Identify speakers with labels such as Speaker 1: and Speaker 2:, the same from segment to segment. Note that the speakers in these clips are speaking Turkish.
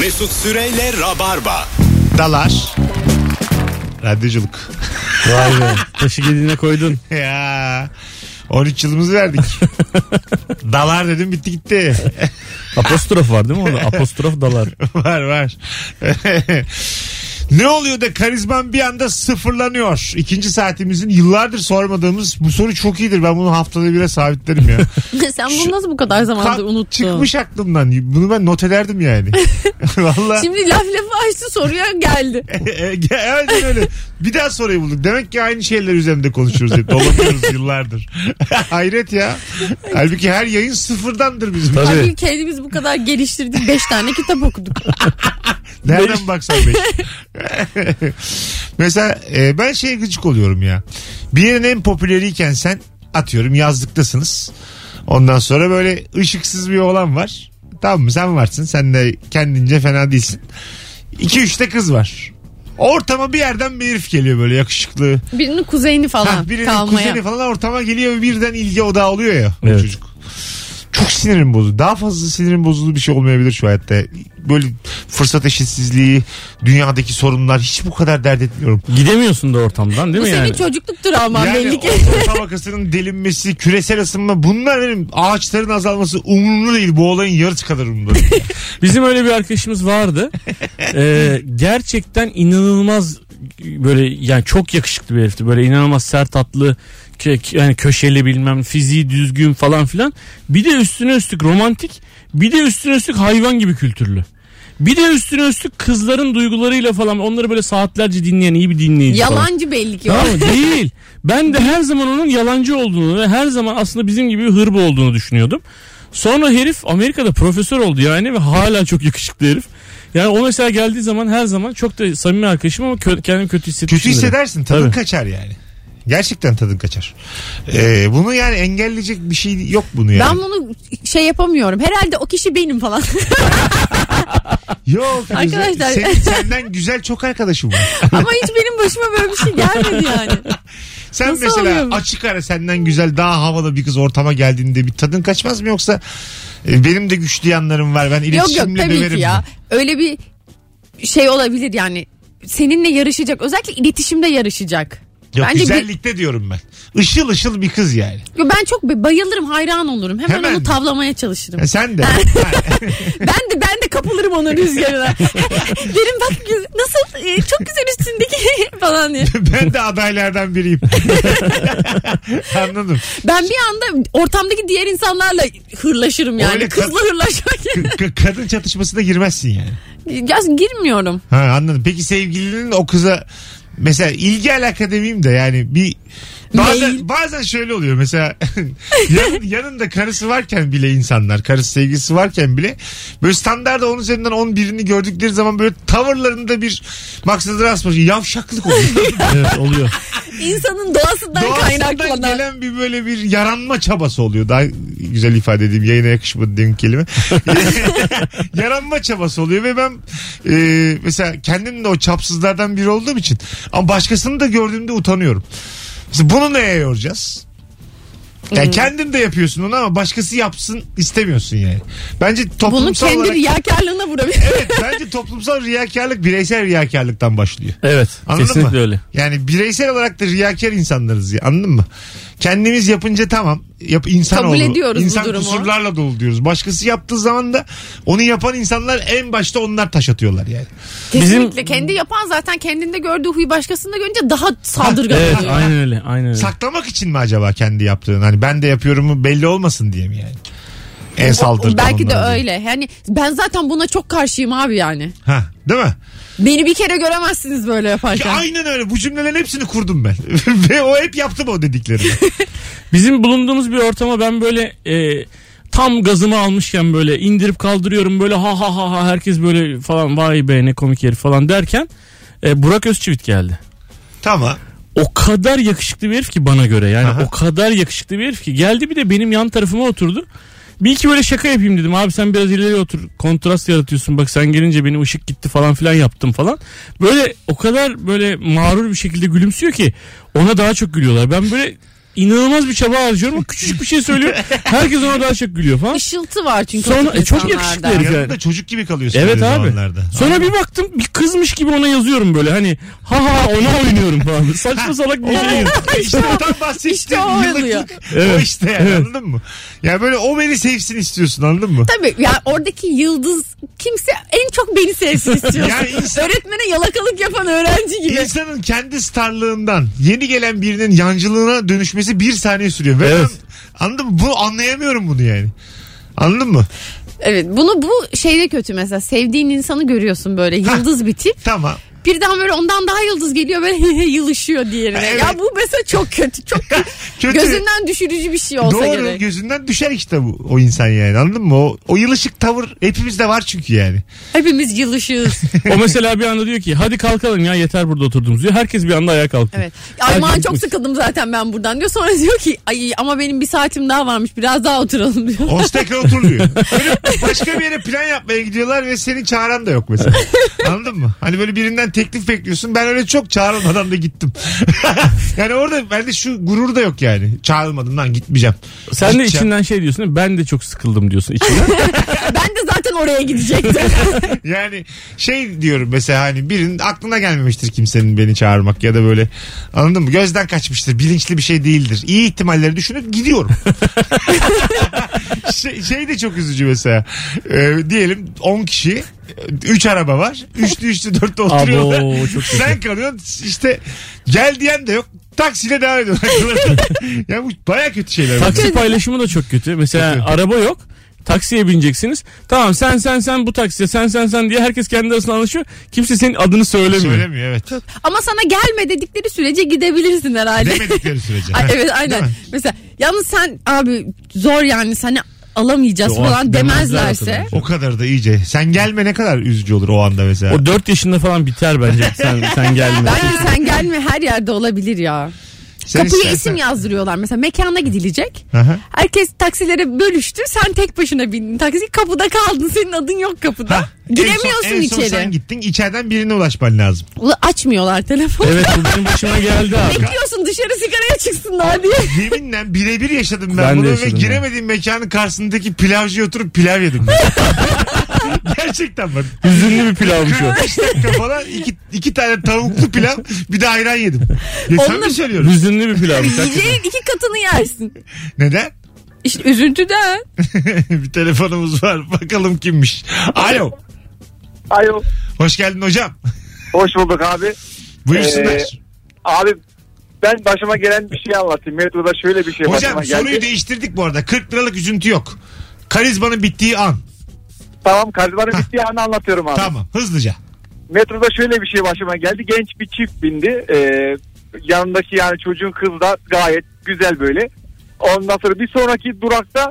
Speaker 1: Mesut Süreyle Rabarba.
Speaker 2: Dalar. Radyoculuk.
Speaker 3: Vay be. Taşı gediğine koydun.
Speaker 2: ya. 13 yılımızı verdik. Dalar dedim bitti gitti.
Speaker 3: Apostrof var değil mi orada? Apostrof dalar.
Speaker 2: var var. ne oluyor da karizman bir anda sıfırlanıyor? İkinci saatimizin yıllardır sormadığımız bu soru çok iyidir. Ben bunu haftada bire sabitlerim ya.
Speaker 4: Sen bunu nasıl bu kadar zamandır
Speaker 2: Kalk-
Speaker 4: unuttun?
Speaker 2: çıkmış aklımdan. Bunu ben not ederdim yani. Valla.
Speaker 4: Şimdi laf lafı açtı soruya geldi.
Speaker 2: evet E, öyle. Bir daha soruyu bulduk. Demek ki aynı şeyler üzerinde konuşuyoruz. Hep. Dolanıyoruz yıllardır. Hayret ya. Halbuki her yayın sıfırdandır bizim.
Speaker 3: Tabii.
Speaker 4: Halbuki kendimiz bu kadar geliştirdik. Beş tane kitap okuduk.
Speaker 2: Nereden baksan beş. Mesela e, ben şey gıcık oluyorum ya. Bir yerin en popüleriyken sen atıyorum yazlıktasınız. Ondan sonra böyle ışıksız bir oğlan var. Tamam mı sen varsın. Sen de kendince fena değilsin. 2-3 de kız var. Ortama bir yerden bir herif geliyor böyle yakışıklı.
Speaker 4: Birinin kuzeyini falan
Speaker 2: Ha, birinin
Speaker 4: kalmaya.
Speaker 2: kuzeni falan ortama geliyor ve birden ilgi odağı oluyor ya o
Speaker 3: Evet.
Speaker 2: çocuk. Çok sinirim bozu. Daha fazla sinirim bozulu bir şey olmayabilir şu hayatta. Böyle fırsat eşitsizliği, dünyadaki sorunlar hiç bu kadar dert etmiyorum.
Speaker 3: Gidemiyorsun da ortamdan değil
Speaker 4: Bu
Speaker 3: mi
Speaker 4: senin
Speaker 3: yani?
Speaker 4: çocukluk travman belli
Speaker 2: Yani
Speaker 4: ki.
Speaker 2: o tabakasının delinmesi, küresel ısınma bunlar benim ağaçların azalması umurumda değil. Bu olayın yarısı kadar umurumda değil.
Speaker 3: Bizim öyle bir arkadaşımız vardı. Ee, gerçekten inanılmaz böyle yani çok yakışıklı bir herifti. Böyle inanılmaz sert atlı kö- yani köşeli bilmem fiziği düzgün falan filan. Bir de üstüne üstlük romantik bir de üstüne üstlük hayvan gibi kültürlü. Bir de üstüne üstlük kızların duygularıyla falan onları böyle saatlerce dinleyen iyi bir dinleyici falan.
Speaker 4: Yalancı belli ki. o.
Speaker 3: Tamam mı? değil. Ben de her zaman onun yalancı olduğunu ve her zaman aslında bizim gibi bir hırba olduğunu düşünüyordum. Sonra herif Amerika'da profesör oldu yani ve hala çok yakışıklı herif. Yani o mesela geldiği zaman her zaman çok da samimi arkadaşım ama kö- kendimi kötü
Speaker 2: Kötü
Speaker 3: hissetmişimdir.
Speaker 2: hissedersin. Tadın
Speaker 3: Tabii.
Speaker 2: kaçar yani. Gerçekten tadın kaçar. Ee, bunu yani engelleyecek bir şey yok bunu yani.
Speaker 4: Ben bunu şey yapamıyorum. Herhalde o kişi benim falan.
Speaker 2: Yok. Arkadaşlar.
Speaker 4: Arkadaşlar.
Speaker 2: Senin, senden güzel çok arkadaşım var.
Speaker 4: Ama hiç benim başıma böyle bir şey gelmedi yani.
Speaker 2: Sen
Speaker 4: Nasıl
Speaker 2: mesela
Speaker 4: oluyor bu?
Speaker 2: açık ara senden güzel daha havalı bir kız ortama geldiğinde bir tadın kaçmaz mı yoksa e, benim de güçlü yanlarım var ben
Speaker 4: yok yok
Speaker 2: iletişimle
Speaker 4: tabii
Speaker 2: döverim
Speaker 4: ki
Speaker 2: mi?
Speaker 4: ya. Öyle bir şey olabilir yani. Seninle yarışacak. Özellikle iletişimde yarışacak.
Speaker 2: Yok
Speaker 4: Bence bir-
Speaker 2: güzellikte diyorum ben. Işıl ışıl bir kız yani.
Speaker 4: Yo, Ben çok bayılırım, hayran olurum. Hemen,
Speaker 2: Hemen mi?
Speaker 4: onu tavlamaya çalışırım.
Speaker 2: E, sen de.
Speaker 4: ben de ben de kapılırım onun rüzgarına. Derim bak güz- nasıl e, çok güzel üstündeki falan diye.
Speaker 2: ben de adaylardan biriyim. Anladım.
Speaker 4: Ben bir anda ortamdaki diğer insanlarla hırlaşırım yani.
Speaker 2: Öyle
Speaker 4: Kızla
Speaker 2: kad-
Speaker 4: hırlaşmak.
Speaker 2: K- k- kadın çatışmasına girmezsin yani.
Speaker 4: Ya girmiyorum.
Speaker 2: Ha anladım. Peki sevgilinin o kıza mesela ilgi alaka demeyeyim de yani bir bazen,
Speaker 4: Mail.
Speaker 2: bazen şöyle oluyor mesela yan- yanında karısı varken bile insanlar karısı sevgilisi varken bile böyle standarda onun üzerinden 10 birini gördükleri zaman böyle tavırlarında bir maksadı rastmış yavşaklık oluyor.
Speaker 3: Evet oluyor.
Speaker 4: İnsanın doğasından,
Speaker 2: Doğasından
Speaker 4: kaynaklanan.
Speaker 2: gelen bir böyle bir yaranma çabası oluyor. Daha güzel ifade edeyim. Yayına yakışmadı dediğim kelime. yaranma çabası oluyor ve ben e, mesela kendim de o çapsızlardan biri olduğum için ama başkasını da gördüğümde utanıyorum. Mesela bunu neye yoracağız? Yani kendin de yapıyorsun onu ama başkası yapsın istemiyorsun yani. Bence
Speaker 4: Bunu
Speaker 2: toplumsal
Speaker 4: kendi
Speaker 2: olarak...
Speaker 4: riyakarlığına vurabilir.
Speaker 2: Evet, bence toplumsal riyakarlık bireysel riyakarlıktan başlıyor.
Speaker 3: Evet
Speaker 2: Anladın
Speaker 3: kesinlikle
Speaker 2: mı?
Speaker 3: öyle.
Speaker 2: Yani bireysel olarak da riyakar insanlarız ya. Anladın mı? Kendimiz yapınca tamam. Yap, insan
Speaker 4: Kabul
Speaker 2: oğlu,
Speaker 4: ediyoruz bu
Speaker 2: insan
Speaker 4: durumu.
Speaker 2: kusurlarla dolu diyoruz. Başkası yaptığı zaman da onu yapan insanlar en başta onlar taş atıyorlar yani.
Speaker 4: Kesinlikle. Kendi yapan zaten kendinde gördüğü huyu başkasında görünce daha saldırgan
Speaker 3: Evet
Speaker 4: oluyor.
Speaker 3: aynen öyle aynen öyle.
Speaker 2: Saklamak için mi acaba kendi yaptığın? Hani ben de yapıyorumu belli olmasın diye mi yani? En saldırgan
Speaker 4: Belki de
Speaker 2: onlar diye.
Speaker 4: öyle. Yani ben zaten buna çok karşıyım abi yani.
Speaker 2: Ha, değil mi?
Speaker 4: Beni bir kere göremezsiniz böyle
Speaker 2: Ki
Speaker 4: yaparken.
Speaker 2: aynen öyle. Bu cümlelerin hepsini kurdum ben. Ve o hep yaptım o dediklerimi.
Speaker 3: Bizim bulunduğumuz bir ortama ben böyle e, tam gazımı almışken böyle indirip kaldırıyorum böyle ha ha ha ha herkes böyle falan vay be ne komik herif falan derken e, Burak Özçivit geldi.
Speaker 2: tamam.
Speaker 3: O kadar yakışıklı bir herif ki bana göre yani
Speaker 2: Aha.
Speaker 3: o kadar yakışıklı bir herif ki geldi bir de benim yan tarafıma oturdu. Bir iki böyle şaka yapayım dedim abi sen biraz ileri otur kontrast yaratıyorsun bak sen gelince benim ışık gitti falan filan yaptım falan. Böyle o kadar böyle mağrur bir şekilde gülümsüyor ki ona daha çok gülüyorlar. Ben böyle inanılmaz bir çaba harcıyorum ama küçücük bir şey söylüyorum. Herkes ona daha çok gülüyor falan.
Speaker 4: Işıltı var çünkü.
Speaker 3: Sonra-
Speaker 4: o tip
Speaker 3: e, çok
Speaker 4: insanlarda.
Speaker 3: yakışıklı herif.
Speaker 2: Yanında
Speaker 3: Yani.
Speaker 2: çocuk gibi kalıyorsun.
Speaker 3: Evet
Speaker 2: öyle
Speaker 3: abi.
Speaker 2: zamanlarda.
Speaker 3: Sonra bir baktım bir kızmış gibi ona yazıyorum böyle hani ha ha ona oynuyorum falan. Saçma salak bir şey.
Speaker 2: işte ondan bahsettiğim
Speaker 4: İşte o
Speaker 2: yıllıklık.
Speaker 4: oluyor.
Speaker 2: O işte yani anladın mı? Ya böyle o beni sevsin istiyorsun anladın mı?
Speaker 4: Tabii ya oradaki yıldız kimse en çok beni sevsin istiyorsun.
Speaker 2: Yani insan-
Speaker 4: Öğretmene yalakalık yapan öğrenci gibi.
Speaker 2: İnsanın kendi starlığından yeni gelen birinin yancılığına dönüşmesi bir saniye sürüyor. Ve
Speaker 3: Evet.
Speaker 2: ben, anladın mı? Bu anlayamıyorum bunu yani. Anladın mı?
Speaker 4: Evet bunu bu şeyde kötü mesela sevdiğin insanı görüyorsun böyle yıldız bir tip.
Speaker 2: Tamam.
Speaker 4: Birden böyle ondan daha yıldız geliyor böyle yılışıyor diğerine.
Speaker 2: Evet.
Speaker 4: Ya bu mesela çok kötü. Çok kötü.
Speaker 2: Kötü.
Speaker 4: Gözünden düşürücü bir şey olsa
Speaker 2: Doğru
Speaker 4: gerek.
Speaker 2: gözünden düşer işte bu, o insan yani anladın mı? O, o yılışık tavır hepimizde var çünkü yani.
Speaker 4: Hepimiz yılışız.
Speaker 3: O mesela bir anda diyor ki hadi kalkalım ya yeter burada oturduğumuz diyor. Herkes bir anda ayağa kalktı.
Speaker 4: Evet. Aman
Speaker 3: Herkes
Speaker 4: çok
Speaker 3: gitmiş.
Speaker 4: sıkıldım zaten ben buradan diyor. Sonra diyor ki ay ama benim bir saatim daha varmış biraz daha oturalım diyor.
Speaker 2: Hostek'e oturuluyor. Böyle başka bir yere plan yapmaya gidiyorlar ve senin çağıran da yok mesela. Anladın mı? Hani böyle birinden teklif bekliyorsun. Ben öyle çok çağrılmadan da gittim. yani orada bende şu gurur da yok yani. Çağrılmadım lan gitmeyeceğim.
Speaker 3: Sen de
Speaker 2: Gideceğim.
Speaker 3: içinden şey diyorsun değil mi? ben de çok sıkıldım diyorsun içinden.
Speaker 4: Ben de zaten oraya gidecektim.
Speaker 2: Yani şey diyorum mesela hani birinin aklına gelmemiştir kimsenin beni çağırmak ya da böyle anladın mı? Gözden kaçmıştır. Bilinçli bir şey değildir. İyi ihtimalleri düşünüp gidiyorum. şey, şey de çok üzücü mesela. Ee, diyelim 10 kişi 3 araba var. Üçlü üçlü dörtte oturuyorlar.
Speaker 3: Abo, çok kötü.
Speaker 2: Sen kalıyorsun işte gel diyen de yok. Taksiyle devam ediyorlar. ya bu baya kötü şeyler. bunlar.
Speaker 3: Taksi paylaşımı da çok kötü. Mesela
Speaker 2: Kötü.
Speaker 3: araba yok. Taksiye bineceksiniz. Tamam sen sen sen bu taksiye sen sen sen diye herkes kendi arasında anlaşıyor. Kimse senin adını söylemiyor.
Speaker 2: Söylemiyor evet.
Speaker 4: ama sana gelme dedikleri sürece gidebilirsin herhalde.
Speaker 2: Demedikleri sürece.
Speaker 4: Ay, evet aynen. Mesela yalnız sen abi zor yani seni alamayacağız
Speaker 3: Yo,
Speaker 4: falan
Speaker 3: demezler
Speaker 4: demezlerse.
Speaker 2: O kadar da iyice. Sen gelme ne kadar üzücü olur o anda mesela.
Speaker 3: O 4 yaşında falan biter bence sen sen gelme.
Speaker 4: Bence sen gelme her yerde olabilir ya.
Speaker 2: Sen
Speaker 4: Kapıya
Speaker 2: Şey istersen-
Speaker 4: isim yazdırıyorlar mesela mekana gidilecek.
Speaker 2: Aha.
Speaker 4: Herkes taksilere bölüştü. Sen tek başına bindin taksi. Kapıda kaldın. Senin adın yok kapıda.
Speaker 2: Ha,
Speaker 4: Giremiyorsun
Speaker 2: en son, en son
Speaker 4: içeri.
Speaker 2: sen gittin içeriden birine ulaşman lazım.
Speaker 4: Ula açmıyorlar telefonu.
Speaker 3: Evet bu benim başıma geldi abi.
Speaker 4: Bekliyorsun dışarı sigaraya çıksınlar diye.
Speaker 2: Yeminle birebir yaşadım ben,
Speaker 3: Ben de
Speaker 2: bunu ve
Speaker 3: yaşadım
Speaker 2: giremediğim mekanın karşısındaki pilavcıya oturup pilav yedim. ben. Gerçekten bak.
Speaker 3: Hüzünlü bir pilavmış o.
Speaker 2: 45 dakika falan iki, iki tane tavuklu pilav bir de ayran yedim. Ya sen
Speaker 4: Onunla-
Speaker 2: mi söylüyorum?
Speaker 3: Hüzünlü bir pilavmış. hakikaten.
Speaker 4: Yiyeceğin iki katını yersin.
Speaker 2: Neden?
Speaker 4: İşte üzüntüden.
Speaker 2: bir telefonumuz var. Bakalım kimmiş. Alo.
Speaker 5: Alo.
Speaker 2: Hoş geldin hocam.
Speaker 5: Hoş bulduk abi.
Speaker 2: Buyursunlar.
Speaker 5: Ee, Abi ben başıma gelen bir şey anlatayım. Metroda şöyle bir şey başıma
Speaker 2: hocam
Speaker 5: geldi.
Speaker 2: soruyu değiştirdik bu arada. 40 liralık üzüntü yok. Karizmanın bittiği an.
Speaker 5: Tamam kardiyoların bittiği anı şey anlatıyorum abi.
Speaker 2: Tamam hızlıca.
Speaker 5: Metroda şöyle bir şey başıma geldi. Genç bir çift bindi. Ee, yanındaki yani çocuğun kız da gayet güzel böyle. Ondan sonra bir sonraki durakta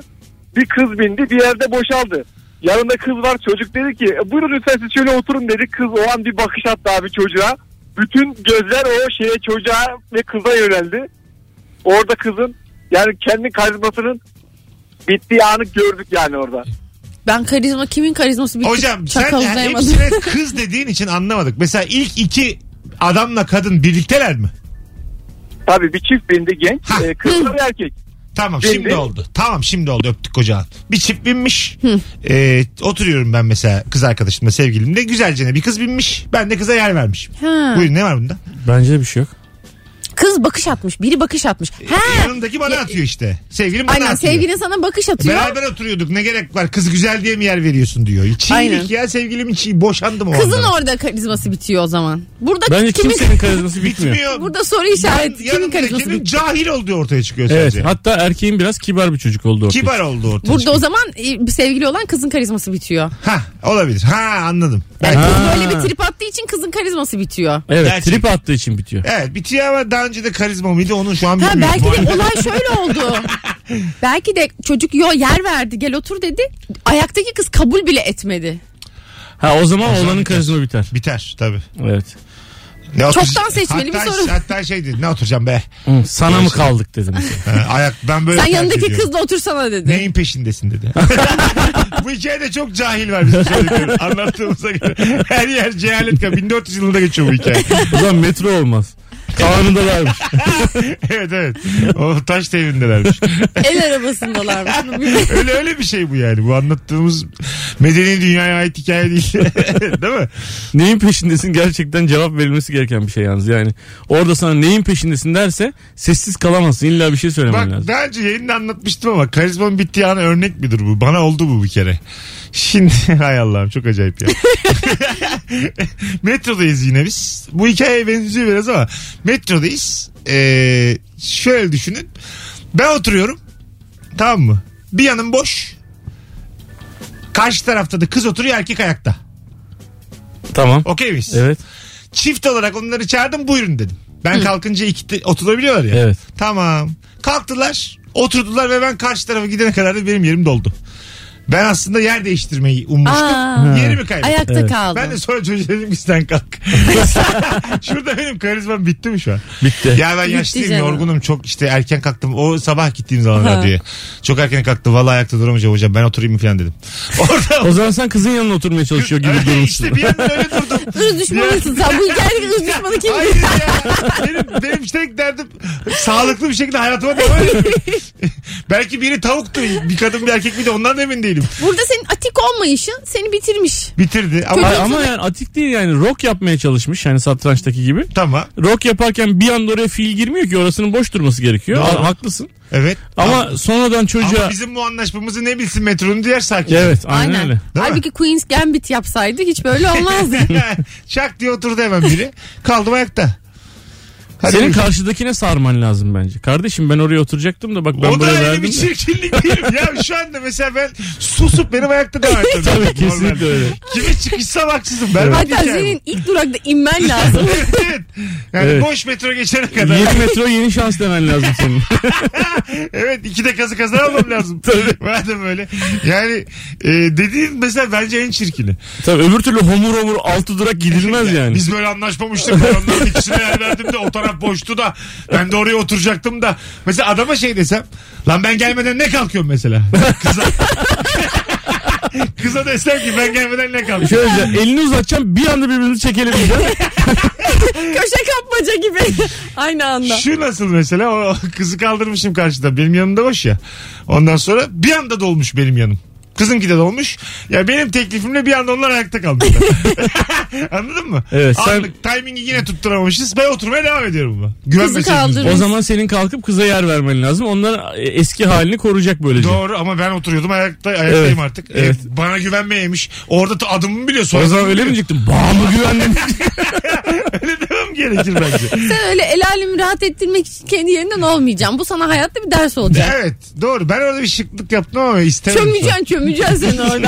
Speaker 5: bir kız bindi bir yerde boşaldı. Yanında kız var çocuk dedi ki "E, buyurun lütfen siz şöyle oturun dedi. Kız o an bir bakış attı abi çocuğa. Bütün gözler o şeye çocuğa ve kıza yöneldi. Orada kızın yani kendi karizmasının bittiği anı gördük yani orada.
Speaker 4: Ben karizma kimin karizması bitti?
Speaker 2: Hocam sen yani
Speaker 4: çakallayamadım.
Speaker 2: hepsine kız dediğin için anlamadık. Mesela ilk iki adamla kadın birlikteler mi?
Speaker 5: Tabii bir çift bindi genç. Ee, kız ve erkek.
Speaker 2: Tamam
Speaker 5: Bindi.
Speaker 2: şimdi oldu. Tamam şimdi oldu öptük kocağın. Bir çift binmiş. Ee, oturuyorum ben mesela kız arkadaşımla sevgilimle. Güzelce bir kız binmiş. Ben de kıza yer vermişim.
Speaker 4: Ha.
Speaker 2: Buyurun ne var bunda?
Speaker 3: Bence de bir şey yok.
Speaker 4: Kız bakış atmış. Biri bakış atmış.
Speaker 2: E,
Speaker 4: Ha.
Speaker 2: Yanımdaki bana atıyor işte. Sevgilim bana
Speaker 4: Aynen
Speaker 2: atıyor.
Speaker 4: sevgilin sana bakış atıyor.
Speaker 2: Beraber oturuyorduk ne gerek var kız güzel diye mi yer veriyorsun diyor.
Speaker 4: Aynen.
Speaker 2: Çiğlik ya sevgilim çiğ boşandım o
Speaker 4: Kızın
Speaker 2: andan.
Speaker 4: orada karizması bitiyor o zaman. Burada
Speaker 3: Bence
Speaker 4: kimin
Speaker 3: kimsenin karizması bitmiyor.
Speaker 2: Bitmiyor.
Speaker 4: Burada soru işareti kimin karizması
Speaker 2: Yanındakinin
Speaker 4: bitti?
Speaker 2: cahil olduğu ortaya çıkıyor
Speaker 3: Evet
Speaker 2: sadece.
Speaker 3: hatta erkeğin biraz kibar bir çocuk oldu ortaya.
Speaker 2: Kibar olduğu ortaya
Speaker 4: Burada o zaman e, sevgili olan kızın karizması bitiyor.
Speaker 2: Ha olabilir. Ha anladım.
Speaker 4: Yani
Speaker 3: Ha.
Speaker 4: kız böyle bir trip attığı için kızın karizması bitiyor.
Speaker 3: Evet
Speaker 2: Gerçek.
Speaker 3: trip attığı için bitiyor.
Speaker 2: Evet bitiyor ama daha önce de karizma mıydı onu şu an
Speaker 4: Ha
Speaker 2: bilmiyorum.
Speaker 4: belki
Speaker 2: Bu arada-
Speaker 4: de olay şöyle oldu. belki de çocuk yo yer verdi gel otur dedi. Ayaktaki kız kabul bile etmedi.
Speaker 3: Ha o zaman oğlanın karizma biter.
Speaker 2: Biter tabii.
Speaker 3: Evet.
Speaker 2: Ne
Speaker 4: Çoktan seçmeli bir
Speaker 2: hatta,
Speaker 4: soru.
Speaker 2: Hatta şey dedi ne oturacağım be.
Speaker 3: Hı, Sana mı kaldık dedim.
Speaker 2: Ha, ayak ben böyle
Speaker 4: Sen
Speaker 2: tercih
Speaker 4: yanındaki
Speaker 2: ediyorum.
Speaker 4: kızla otursana dedi.
Speaker 2: Neyin peşindesin dedi. Bu hikayede çok cahil var bizim söylediklerimiz. Anlattığımıza göre her yer cehalet. ka- 1400 yılında geçiyor bu hikaye.
Speaker 3: O zaman metro olmaz. Kaan'ında varmış.
Speaker 2: evet evet. O taş devrindelermiş.
Speaker 4: El arabasındalarmış.
Speaker 2: öyle öyle bir şey bu yani. Bu anlattığımız medeni dünyaya ait hikaye değil. değil mi?
Speaker 3: Neyin peşindesin gerçekten cevap verilmesi gereken bir şey yalnız. Yani orada sana neyin peşindesin derse sessiz kalamazsın. İlla bir şey söylemen
Speaker 2: Bak
Speaker 3: lazım.
Speaker 2: daha önce yayında anlatmıştım ama karizmanın bittiği ana örnek midir bu? Bana oldu bu bir kere. Şimdi hay Allah'ım çok acayip ya. Metrodayız yine biz. Bu hikayeye benziyor biraz ama metrodayız. Ee, şöyle düşünün. Ben oturuyorum. Tamam mı? Bir yanım boş. Karşı tarafta da kız oturuyor erkek ayakta.
Speaker 3: Tamam.
Speaker 2: Okey miyiz?
Speaker 3: Evet.
Speaker 2: Çift olarak onları çağırdım buyurun dedim. Ben kalkınca iki oturabiliyorlar ya.
Speaker 3: Evet.
Speaker 2: Tamam. Kalktılar, oturdular ve ben karşı tarafa gidene kadar da benim yerim doldu. Ben aslında yer değiştirmeyi ummuştum.
Speaker 4: Aa,
Speaker 2: Yerimi kaybettim.
Speaker 4: ayakta
Speaker 3: Evet.
Speaker 4: kaldı.
Speaker 2: Ben de sonra çocuğa dedim ki sen kalk. Şurada benim karizmam bitti mi şu an?
Speaker 3: Bitti.
Speaker 2: Ya ben
Speaker 4: Bitti
Speaker 2: yaşlıyım
Speaker 4: canım.
Speaker 2: yorgunum çok işte erken kalktım. O sabah gittiğim zaman
Speaker 4: Aha.
Speaker 2: radyoya. Çok erken kalktım vallahi ayakta duramayacağım hocam ben oturayım mı falan dedim. Orada
Speaker 3: O zaman sen kızın yanına oturmaya çalışıyor gibi durmuşsun.
Speaker 2: işte bir yandan öyle durdum.
Speaker 4: Irz düşmanısın sen. Bu hikayedeki ırz düşmanı kim?
Speaker 2: Hayır ya. Benim, benim tek derdim sağlıklı bir şekilde hayatıma devam etmek. Belki biri tavuktu. Bir kadın bir erkek bir de ondan da emin değilim.
Speaker 4: Burada senin atik olmayışın seni bitirmiş.
Speaker 2: Bitirdi ama
Speaker 3: Ay, ama yani atik değil yani rock yapmaya çalışmış yani satrançtaki gibi.
Speaker 2: tamam.
Speaker 3: Rock yaparken bir anda oraya fiil girmiyor ki orasının boş durması gerekiyor.
Speaker 2: Doğru.
Speaker 3: Ha- haklısın.
Speaker 2: Evet.
Speaker 3: Ama sonradan çocuğa...
Speaker 2: Ama bizim bu anlaşmamızı ne bilsin metronun diğer sakin.
Speaker 3: Evet aynen, öyle.
Speaker 2: Değil mi?
Speaker 4: Halbuki Queen's Gambit yapsaydı hiç böyle olmazdı.
Speaker 2: Şak diye oturdu hemen biri. Kaldım ayakta. Hadi
Speaker 3: Senin
Speaker 2: buyurun.
Speaker 3: karşıdakine sarman lazım bence. Kardeşim ben oraya oturacaktım da bak ben
Speaker 2: o da
Speaker 3: buraya
Speaker 2: öyle
Speaker 3: verdim.
Speaker 2: bir şey.
Speaker 3: de.
Speaker 2: çirkinlik değil mi? Ya şu anda mesela ben susup benim ayakta devam ettim.
Speaker 3: Tabii kesinlikle öyle.
Speaker 2: Kime çıkışsam haksızım. Berbat
Speaker 4: Hatta
Speaker 2: hikaye bu.
Speaker 4: senin ilk durakta inmen lazım.
Speaker 2: evet. Yani
Speaker 3: Evet.
Speaker 2: boş metro geçene kadar.
Speaker 3: Yeni metro yeni şans demen lazım senin.
Speaker 2: evet iki de kazı kazanamam lazım. Madem öyle. Yani e, dediğin mesela bence en çirkini.
Speaker 3: Tabii öbür türlü homur homur altı durak gidilmez yani.
Speaker 2: Biz böyle anlaşmamıştık. Ben onların ikisine yer verdim de o taraf boştu da ben de oraya oturacaktım da. Mesela adama şey desem. Lan ben gelmeden ne kalkıyorum mesela? Kıza. Kıza desem ki ben gelmeden ne kalkıyorum?
Speaker 3: Şöyle diyeceğim, elini uzatacağım bir anda birbirimizi çekelim diyeceğim.
Speaker 4: Köşe kapmaca gibi. Aynı anda.
Speaker 2: Şu nasıl mesela o kızı kaldırmışım karşıda benim yanımda boş ya. Ondan sonra bir anda dolmuş benim yanım. Kızınki de dolmuş. Ya benim teklifimle bir anda onlar ayakta kalmışlar. Anladın mı?
Speaker 3: Evet, sen-
Speaker 2: Anlık timingi yine tutturamamışız. Ben oturmaya devam ediyorum buna. Güven
Speaker 4: Kızı
Speaker 2: meselemiz bu.
Speaker 4: kaldırın.
Speaker 3: o zaman senin kalkıp kıza yer vermen lazım. Onlar e, eski halini koruyacak böylece.
Speaker 2: Doğru ama ben oturuyordum ayakta ayaktayım
Speaker 3: Evet,
Speaker 2: artık. E,
Speaker 3: evet.
Speaker 2: bana güvenmeymiş. Orada da adımımı biliyor. Sonra
Speaker 3: O zaman öyle mi diyecektin? Bağ mı güvendin?
Speaker 2: öyle demem gerekir bence.
Speaker 4: Sen öyle el alemi rahat ettirmek için kendi yerinden olmayacağım. Bu sana hayatta bir ders olacak.
Speaker 2: evet doğru. Ben orada bir şıklık yaptım ama istemedim. sonra.
Speaker 4: Çömeceksin çömeceksin seni orada.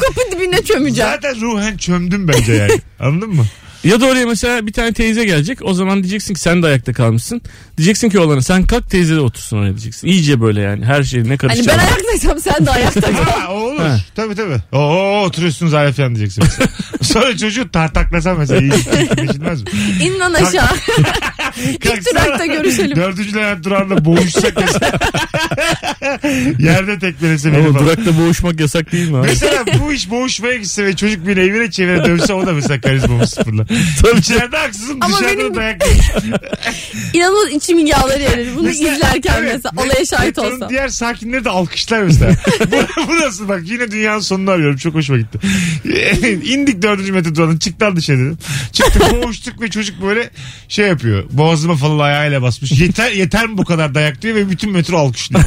Speaker 4: Kapı dibine çömeceksin.
Speaker 2: Zaten ruhen çömdüm bence yani. Anladın mı?
Speaker 3: ya da oraya mesela bir tane teyze gelecek. O zaman diyeceksin ki sen de ayakta kalmışsın. Diyeceksin ki oğlana sen kalk teyze de otursun oraya diyeceksin. İyice böyle yani her şey ne
Speaker 4: Hani
Speaker 3: karışacak.
Speaker 4: ben ayaktaysam sen de ayakta kal.
Speaker 2: Ha o olur.
Speaker 3: Ha.
Speaker 2: Tabii tabii. Oo oturuyorsunuz hala falan diyeceksin mesela. Sonra çocuğu tartaklasa mesela iyi geçilmez mi?
Speaker 4: İn lan aşağı. İlk
Speaker 2: Kalksana.
Speaker 4: durakta görüşelim.
Speaker 2: Dördüncü leğen durağında boğuşsak mesela. Yerde tekmelese beni
Speaker 3: Ama
Speaker 2: falan.
Speaker 3: durakta boğuşmak yasak değil mi abi?
Speaker 2: Mesela bu iş boğuşmaya gitse ve çocuk beni evine çevire dövse o da mesela karizmamı sıfırla. İçeride haksızım
Speaker 4: Ama
Speaker 2: dışarıda
Speaker 4: benim-
Speaker 2: dayak yemiş.
Speaker 4: İnanılmaz içimin yağları erir. Bunu
Speaker 2: Mesela-
Speaker 4: izlerken
Speaker 2: Evet,
Speaker 4: mesela
Speaker 2: met-
Speaker 4: olaya şahit
Speaker 2: metronun
Speaker 4: olsam.
Speaker 2: diğer sakinleri de alkışlar mesela. bu, bu nasıl bak yine dünyanın sonunu arıyorum. Çok hoşuma gitti. İndik dördüncü metre duranın çıktan dışarı dedim. Çıktık boğuştuk ve çocuk böyle şey yapıyor. Boğazıma falan ayağıyla basmış. Yeter yeter mi bu kadar dayak diyor ve bütün metro alkışlıyor.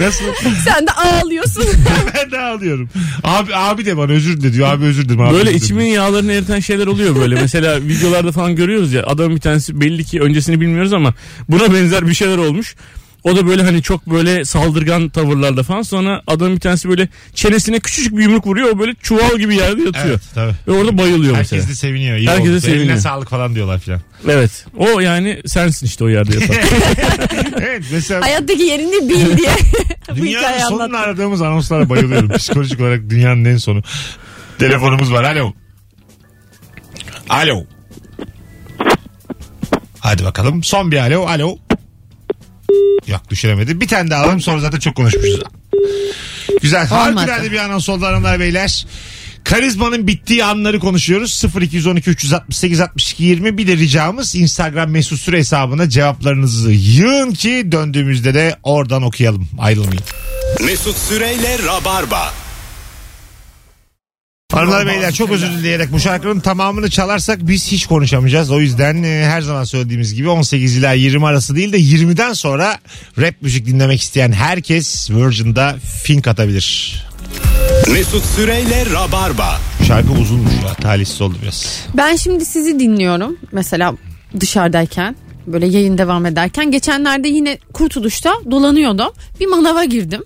Speaker 2: Nasıl?
Speaker 4: Sen de ağlıyorsun.
Speaker 2: Ben de ağlıyorum. Abi abi de bana özür dile diyor. Abi özür dilerim. Abi
Speaker 3: Böyle
Speaker 2: özür dilerim.
Speaker 3: içimin yağlarını eriten şeyler oluyor böyle. Mesela videolarda falan görüyoruz ya adam bir tanesi belli ki öncesini bilmiyoruz ama buna benzer bir şeyler olmuş. O da böyle hani çok böyle saldırgan tavırlarda falan sonra adam bir tanesi böyle çenesine küçücük bir yumruk vuruyor o böyle çuval gibi yerde yatıyor.
Speaker 2: Evet tabii.
Speaker 3: Ve orada bayılıyor mesela.
Speaker 2: Herkes de seviniyor. iyi
Speaker 3: Herkes de
Speaker 2: oldu. Eline
Speaker 3: seviniyor.
Speaker 2: sağlık falan diyorlar filan.
Speaker 3: Evet. O yani sensin işte o yerde yatan.
Speaker 2: Evet mesela
Speaker 4: Hayattaki yerini bil diye. Bu
Speaker 2: Dünyanın
Speaker 4: hikayeyi
Speaker 2: sonunu
Speaker 4: anlattım.
Speaker 2: aradığımız anonslara bayılıyorum. Psikolojik olarak dünyanın en sonu. Telefonumuz var. Alo. Alo. Hadi bakalım. Son bir alo. Alo. Yok düşüremedi. Bir tane daha alalım sonra zaten çok konuşmuşuz. Güzel.
Speaker 4: Olmadı.
Speaker 2: Harikulade bir anons oldu hanımlar beyler. Karizmanın bittiği anları konuşuyoruz. 0212 368 62 20 bir de ricamız Instagram mesut süre hesabına cevaplarınızı yığın ki döndüğümüzde de oradan okuyalım. Ayrılmayın.
Speaker 1: Mesut Süreyle Rabarba.
Speaker 2: Hanımlar beyler çok özür dileyerek bu şarkının tamamını çalarsak biz hiç konuşamayacağız. O yüzden e, her zaman söylediğimiz gibi 18 ila 20 arası değil de 20'den sonra rap müzik dinlemek isteyen herkes Virgin'da fink atabilir.
Speaker 1: Mesut Süreyle Rabarba.
Speaker 2: Şarkı uzunmuş ya talihsiz oldu biraz.
Speaker 4: Ben şimdi sizi dinliyorum. Mesela dışarıdayken böyle yayın devam ederken geçenlerde yine Kurtuluş'ta dolanıyordum. Bir manava girdim.